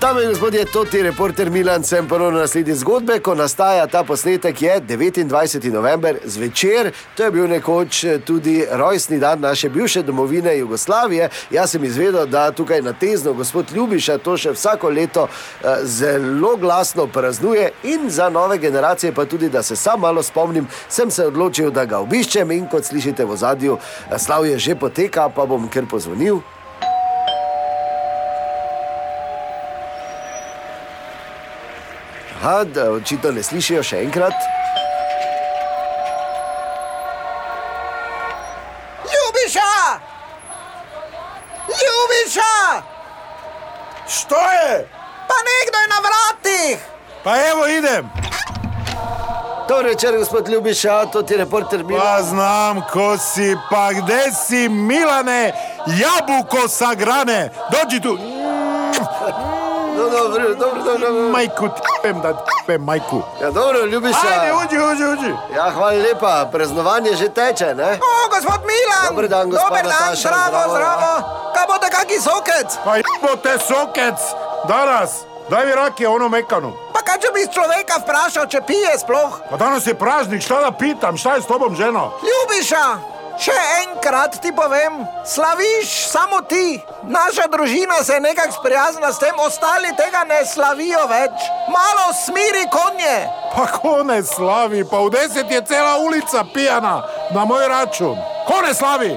Dame in gospodje, to ti reporter Milan, sem ponovno na sledi zgodbe, ko nastaja ta posnetek, je 29. november zvečer, to je bil nekoč eh, tudi rojstni dan naše bivše domovine Jugoslavije. Jaz sem izvedel, da tukaj na Tezno gospod Ljubiša to še vsako leto eh, zelo glasno praznuje in za nove generacije, pa tudi da se sam malo spomnim, sem se odločil, da ga obiščem in kot slišite v zadju, slavje že poteka, pa bom kar pozvonil. Aha, da očitno ne slišijo še enkrat. Ljubiša! Ljubiša! Što je? Pa nekdo je na vratih! Pa evo idem. Dobro večer, Torej, gospod Ljubiša, to ti reporter Milan. Pa znam ko si, pa gde si Milane, jabuko sa grane. Dođi tu. No, dobro, dobro, dobro, dobro. Majku tipem da tipem majku. Ja, dobro, Ljubiša. Ajde, uđi, uđi, uđi. Ja, hvala lepa, praznovanje že teče, ne? O, gospod Milan! Dober dan, gospa Dober dan, Nataša, zdravo, zdravo, zdravo! Kaj bote, kaki sokec? Pa jebo te sokec danas. Daj mi rakije ono mekanu. Pa kaj če bi človeka vprašal, če pije sploh? Pa danas je praznik, šta da pitam, šta je s tobom ženo? Ljubiša! Še enkrat ti povem, slaviš samo ti. Naša družina se je nekako sprijaznila s tem, ostali tega ne slavijo več. Malo smiri konje. Pa ko ne slavi, pa u deset je cela ulica pijana na moj račun. Ko ne slavi?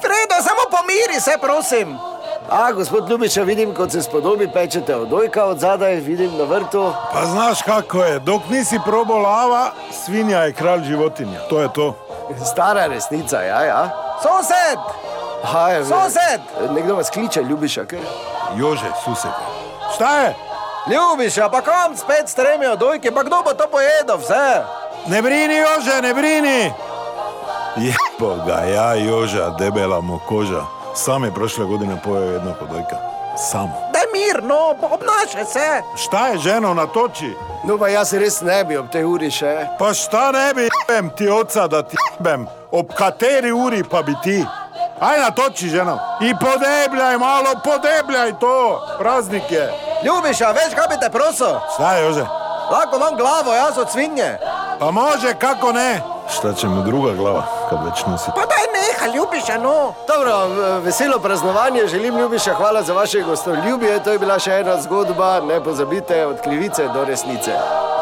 Fredo, samo pomiri se, prosim. A, gospod Ljubiša, vidim, kot se spodobi, pečete od dojka od zadaj, vidim na vrtu. Pa znaš kako je, dok nisi probao lava, svinja je kralj životinja. To je to. Stara resnica, ja, ja. Sosed, Aha, je, sosed. Nekdo vas kliče, Ljubiša, kaj? Jože, sused. Šta je? Ljubiša, pa kam spet stremijo dojke, pa kdo bo to pojedel vse? Ne brini, Jože, ne brini! Jebo ga, ja, Joža, debela mu koža. Sam je prošle godine pojeo jedno podojka. Sam. Daj mirno, obnašaj se. Šta je ženo na toči? No, pa jaz res ne bi ob tej uri še. Pa šta ne bi jebem ti oca da ti jebem? Ob kateri uri pa bi ti? Aj na toči, ženo. I podebljaj malo, podebljaj to. Praznik je. Ljubiša, veš, kaj bi te prosil? Šta je, Jože? Lahko imam glavo, jaz od svinje. Pa može, kako ne? Šta će mu druga glava kad već nosi? Pa daj neha, Ljubiša, no. Dobro, v- veselo praznovanje želim, Ljubiša, hvala za vaše gostoljubje. To je bila še ena zgodba, ne pozabite, od krivice do resnice.